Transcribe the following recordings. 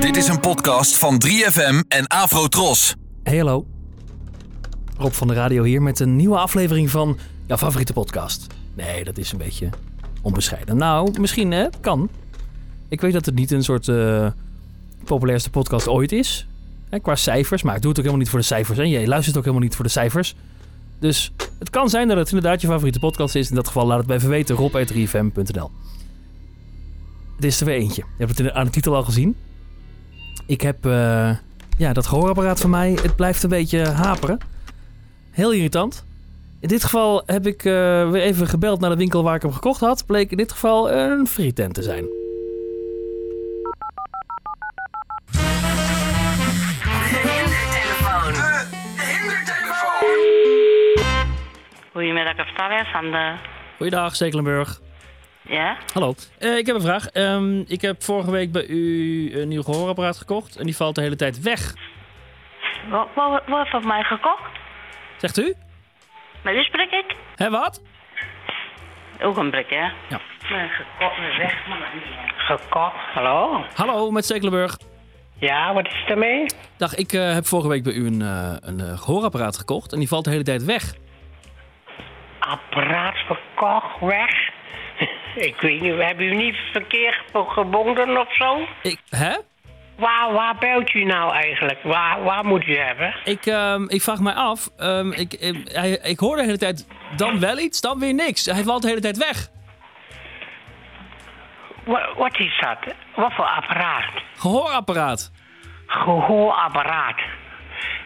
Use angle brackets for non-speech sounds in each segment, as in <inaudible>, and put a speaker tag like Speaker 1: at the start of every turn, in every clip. Speaker 1: Dit is een podcast van 3FM en Afrotros.
Speaker 2: Hey, hallo. Rob van de Radio hier met een nieuwe aflevering van jouw favoriete podcast. Nee, dat is een beetje onbescheiden. Nou, misschien hè, kan. Ik weet dat het niet een soort eh, populairste podcast ooit is. Hè, qua cijfers, maar ik doe het ook helemaal niet voor de cijfers. En je luistert ook helemaal niet voor de cijfers. Dus het kan zijn dat het inderdaad je favoriete podcast is. In dat geval laat het me even weten. rob.3fm.nl Het is er weer eentje. Je hebt het in de- aan de titel al gezien. Ik heb... eh, ja, dat gehoorapparaat van mij, het blijft een beetje haperen. Heel irritant. In dit geval heb ik eh, weer even gebeld naar de winkel waar ik hem gekocht had. Bleek in dit geval een frietent te zijn.
Speaker 3: Hindertelefoon. De hindertelefoon.
Speaker 4: Goedemiddag, Octavia, Sander.
Speaker 2: Goeiedag, Stekelenburg.
Speaker 4: eh, Ja?
Speaker 2: Hallo. Eh, ik heb een vraag. Ehm, ik heb vorige week bij u een nieuw gehoorapparaat gekocht. En die valt de hele tijd weg.
Speaker 4: Wat, wat, wat van mij gekocht?
Speaker 2: Zegt u?
Speaker 4: Met wie spreek ik?
Speaker 2: Hé, wat?
Speaker 4: Ook een blik, hè?
Speaker 2: Ja.
Speaker 4: Nee, gekocht, nee, weg, maar dat niet. Gekocht, hallo?
Speaker 2: Hallo, met Stekelenburg.
Speaker 4: Ja, wat is er mee?
Speaker 2: Dag, ik eh, heb vorige week bij u een, eh, een eh, gehoorapparaat gekocht. En die valt de hele tijd weg.
Speaker 5: Apparaat verkocht, weg. <laughs> Ik weet niet, hebben u niet verkeer gebonden of zo?
Speaker 2: Ik, hè?
Speaker 5: Waar, waar belt u nou eigenlijk? Waar, waar moet u hebben?
Speaker 2: Ik, ehm, ik vraag mij af, ehm, ik, ik, hij- ik hoor de hele tijd dan wel iets, dan weer niks. Hij valt de hele tijd weg.
Speaker 5: Wa- Wat is dat? Wat voor apparaat?
Speaker 2: Gehoorapparaat.
Speaker 5: Gehoorapparaat.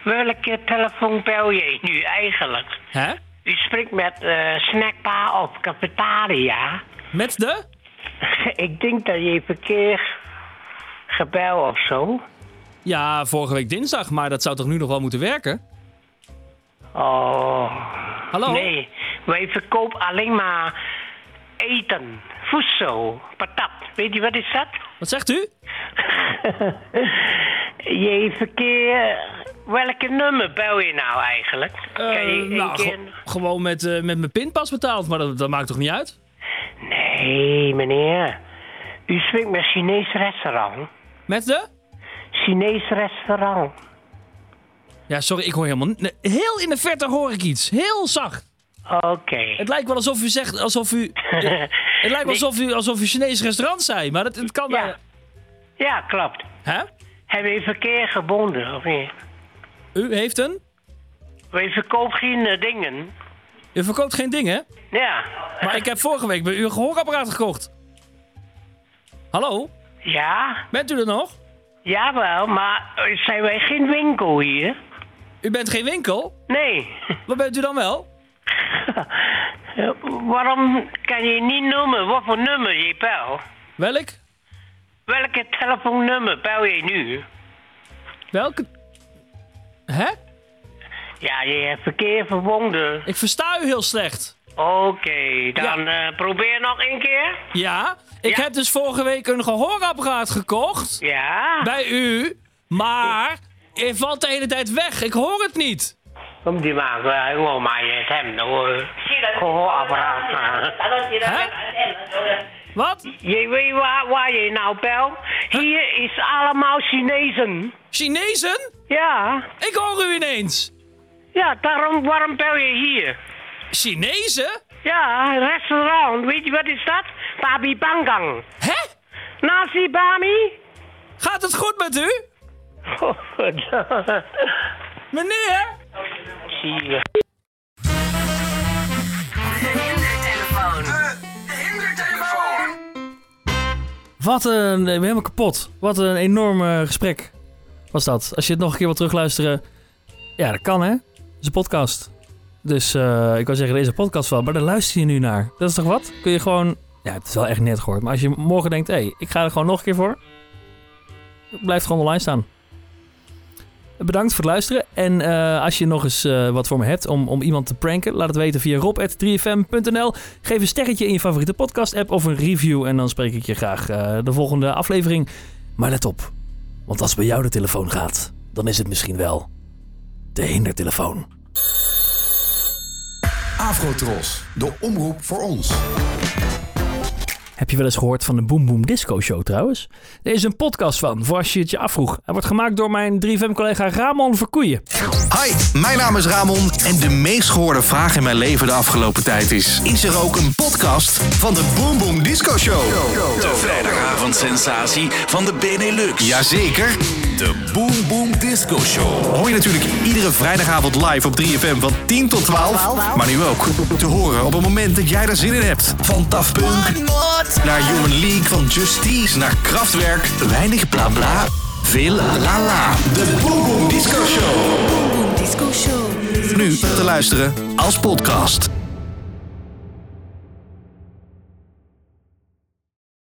Speaker 5: Welke telefoon bel je nu eigenlijk?
Speaker 2: Hè?
Speaker 5: U spreekt met eh Snackpa op Cafetaria.
Speaker 2: Met de?
Speaker 5: <laughs> Ik denk dat je verkeer gebel of zo.
Speaker 2: Ja, vorige week dinsdag, maar dat zou toch nu nog wel moeten werken?
Speaker 5: Oh.
Speaker 2: Hallo?
Speaker 5: Nee, wij verkopen alleen maar eten, voedsel, patat. Weet je wat is
Speaker 2: <laughs>
Speaker 5: dat?
Speaker 2: Wat zegt u?
Speaker 5: je verkeer, welke nummer bel je nou eigenlijk?
Speaker 2: Eh,
Speaker 5: Kan je één
Speaker 2: nou,
Speaker 5: keer-
Speaker 2: ge- gewoon met, eh, met mijn pinpas betaald, maar dat, dat maakt toch niet uit?
Speaker 5: Nee, meneer. U spreekt met Chinees restaurant.
Speaker 2: Met de?
Speaker 5: Chinees restaurant.
Speaker 2: Ja, sorry, ik hoor helemaal... ni- nee, heel in de verte hoor ik iets. Heel zacht.
Speaker 5: Oké. <laughs>
Speaker 2: Het lijkt wel alsof u zegt, alsof u... eh, het lijkt wel alsof u, alsof u Chinees restaurant zei, maar dat, het kan...
Speaker 5: Ja.
Speaker 2: wel-
Speaker 5: Ja, klopt.
Speaker 2: Hè?
Speaker 5: Hebben we verkeer gebonden of niet?
Speaker 2: U heeft een...
Speaker 5: Wij verkopen geen eh, dingen.
Speaker 2: U verkoopt geen dingen?
Speaker 5: Ja.
Speaker 2: Maar ik heb vorige week bij u een gehoorapparaat gekocht. Hallo,
Speaker 5: Ja,
Speaker 2: bent u er nog?
Speaker 5: jawel, maar eh, zijn wij geen winkel hier?
Speaker 2: U bent geen winkel?
Speaker 5: Nee.
Speaker 2: Wat bent u dan wel?
Speaker 5: Eh, Waarom kan je niet noemen wat voor nummer je belt?
Speaker 2: Welk?
Speaker 5: Welke telefoonnummer bel je nu?
Speaker 2: Welke? Hè?
Speaker 5: Ja, je hebt verkeer verwonden.
Speaker 2: Ik versta u heel slecht.
Speaker 5: Oké, dan eh, probeer nog een keer.
Speaker 2: Ja, ik
Speaker 5: Ja.
Speaker 2: heb dus vorige week een gehoorapparaat gekocht
Speaker 5: Ja,
Speaker 2: bij u, maar het valt de hele tijd weg. Ik hoor het niet.
Speaker 5: kom die maar. eh, Gewoon maar je stem hoor. Gehoorapparaat. eh.
Speaker 2: Hè? Wat?
Speaker 5: Je weet waar, waar je nou belt? Hier is allemaal Chinezen.
Speaker 2: Chinezen?
Speaker 5: Ja,
Speaker 2: Ik hoor u ineens.
Speaker 5: ja daarom, waarom bel je hier?
Speaker 2: Chinezen?
Speaker 5: Ja, restaurant, weet je wat is dat? Babi Bangang.
Speaker 2: Hè?
Speaker 5: Nasi Bami?
Speaker 2: Gaat het goed met u? Meneer?
Speaker 3: De hindertelefoon. De hindertelefoon.
Speaker 2: Wat een. Ik ben helemaal kapot. Wat een enorm eh, gesprek was dat. Als je het nog een keer wil terugluisteren. Ja, dat kan hè. Het is een podcast. Dus eh, ik wou zeggen, deze podcast wel. Maar daar luister je nu naar. Dat is toch wat? Kun je gewoon. Ja, het is wel echt net gehoord. Maar als je morgen denkt, hé, hey, ik ga er gewoon nog een keer voor. Blijf gewoon online staan. Bedankt voor het luisteren. En eh, als je nog eens eh, wat voor me hebt om, om iemand te pranken, laat het weten via rob.3fm.nl. Geef een sterretje in je favoriete podcast-app of een review. En dan spreek ik je graag eh, de volgende aflevering. Maar let op, want als bij jou de telefoon gaat, dan is het misschien wel de hindertelefoon.
Speaker 6: Afrotros, de omroep voor ons.
Speaker 2: Heb je wel eens gehoord van de Boom Boom Disco Show trouwens? Er is een podcast van, voor als je het je afvroeg. Hij wordt gemaakt door mijn 3FM-collega Ramon Verkoeien.
Speaker 6: Hi, mijn naam is Ramon en de meest gehoorde vraag in mijn leven de afgelopen tijd is... Is er ook een podcast van de Boom Boom Disco Show?
Speaker 1: De vrijdagavondsensatie van de Benelux.
Speaker 6: Jazeker.
Speaker 1: de Boom Boom Disco Show.
Speaker 6: Hoor je natuurlijk iedere vrijdagavond live op 3FM van 10 tot 12. Maar nu ook te horen op het moment dat jij er zin in hebt. Van Daft Punk naar Human League, van Justice naar Kraftwerk. Weinig bla bla, veel la la. De Boom Boom Disco Show.
Speaker 7: Disco Show.
Speaker 6: Nu te luisteren als podcast.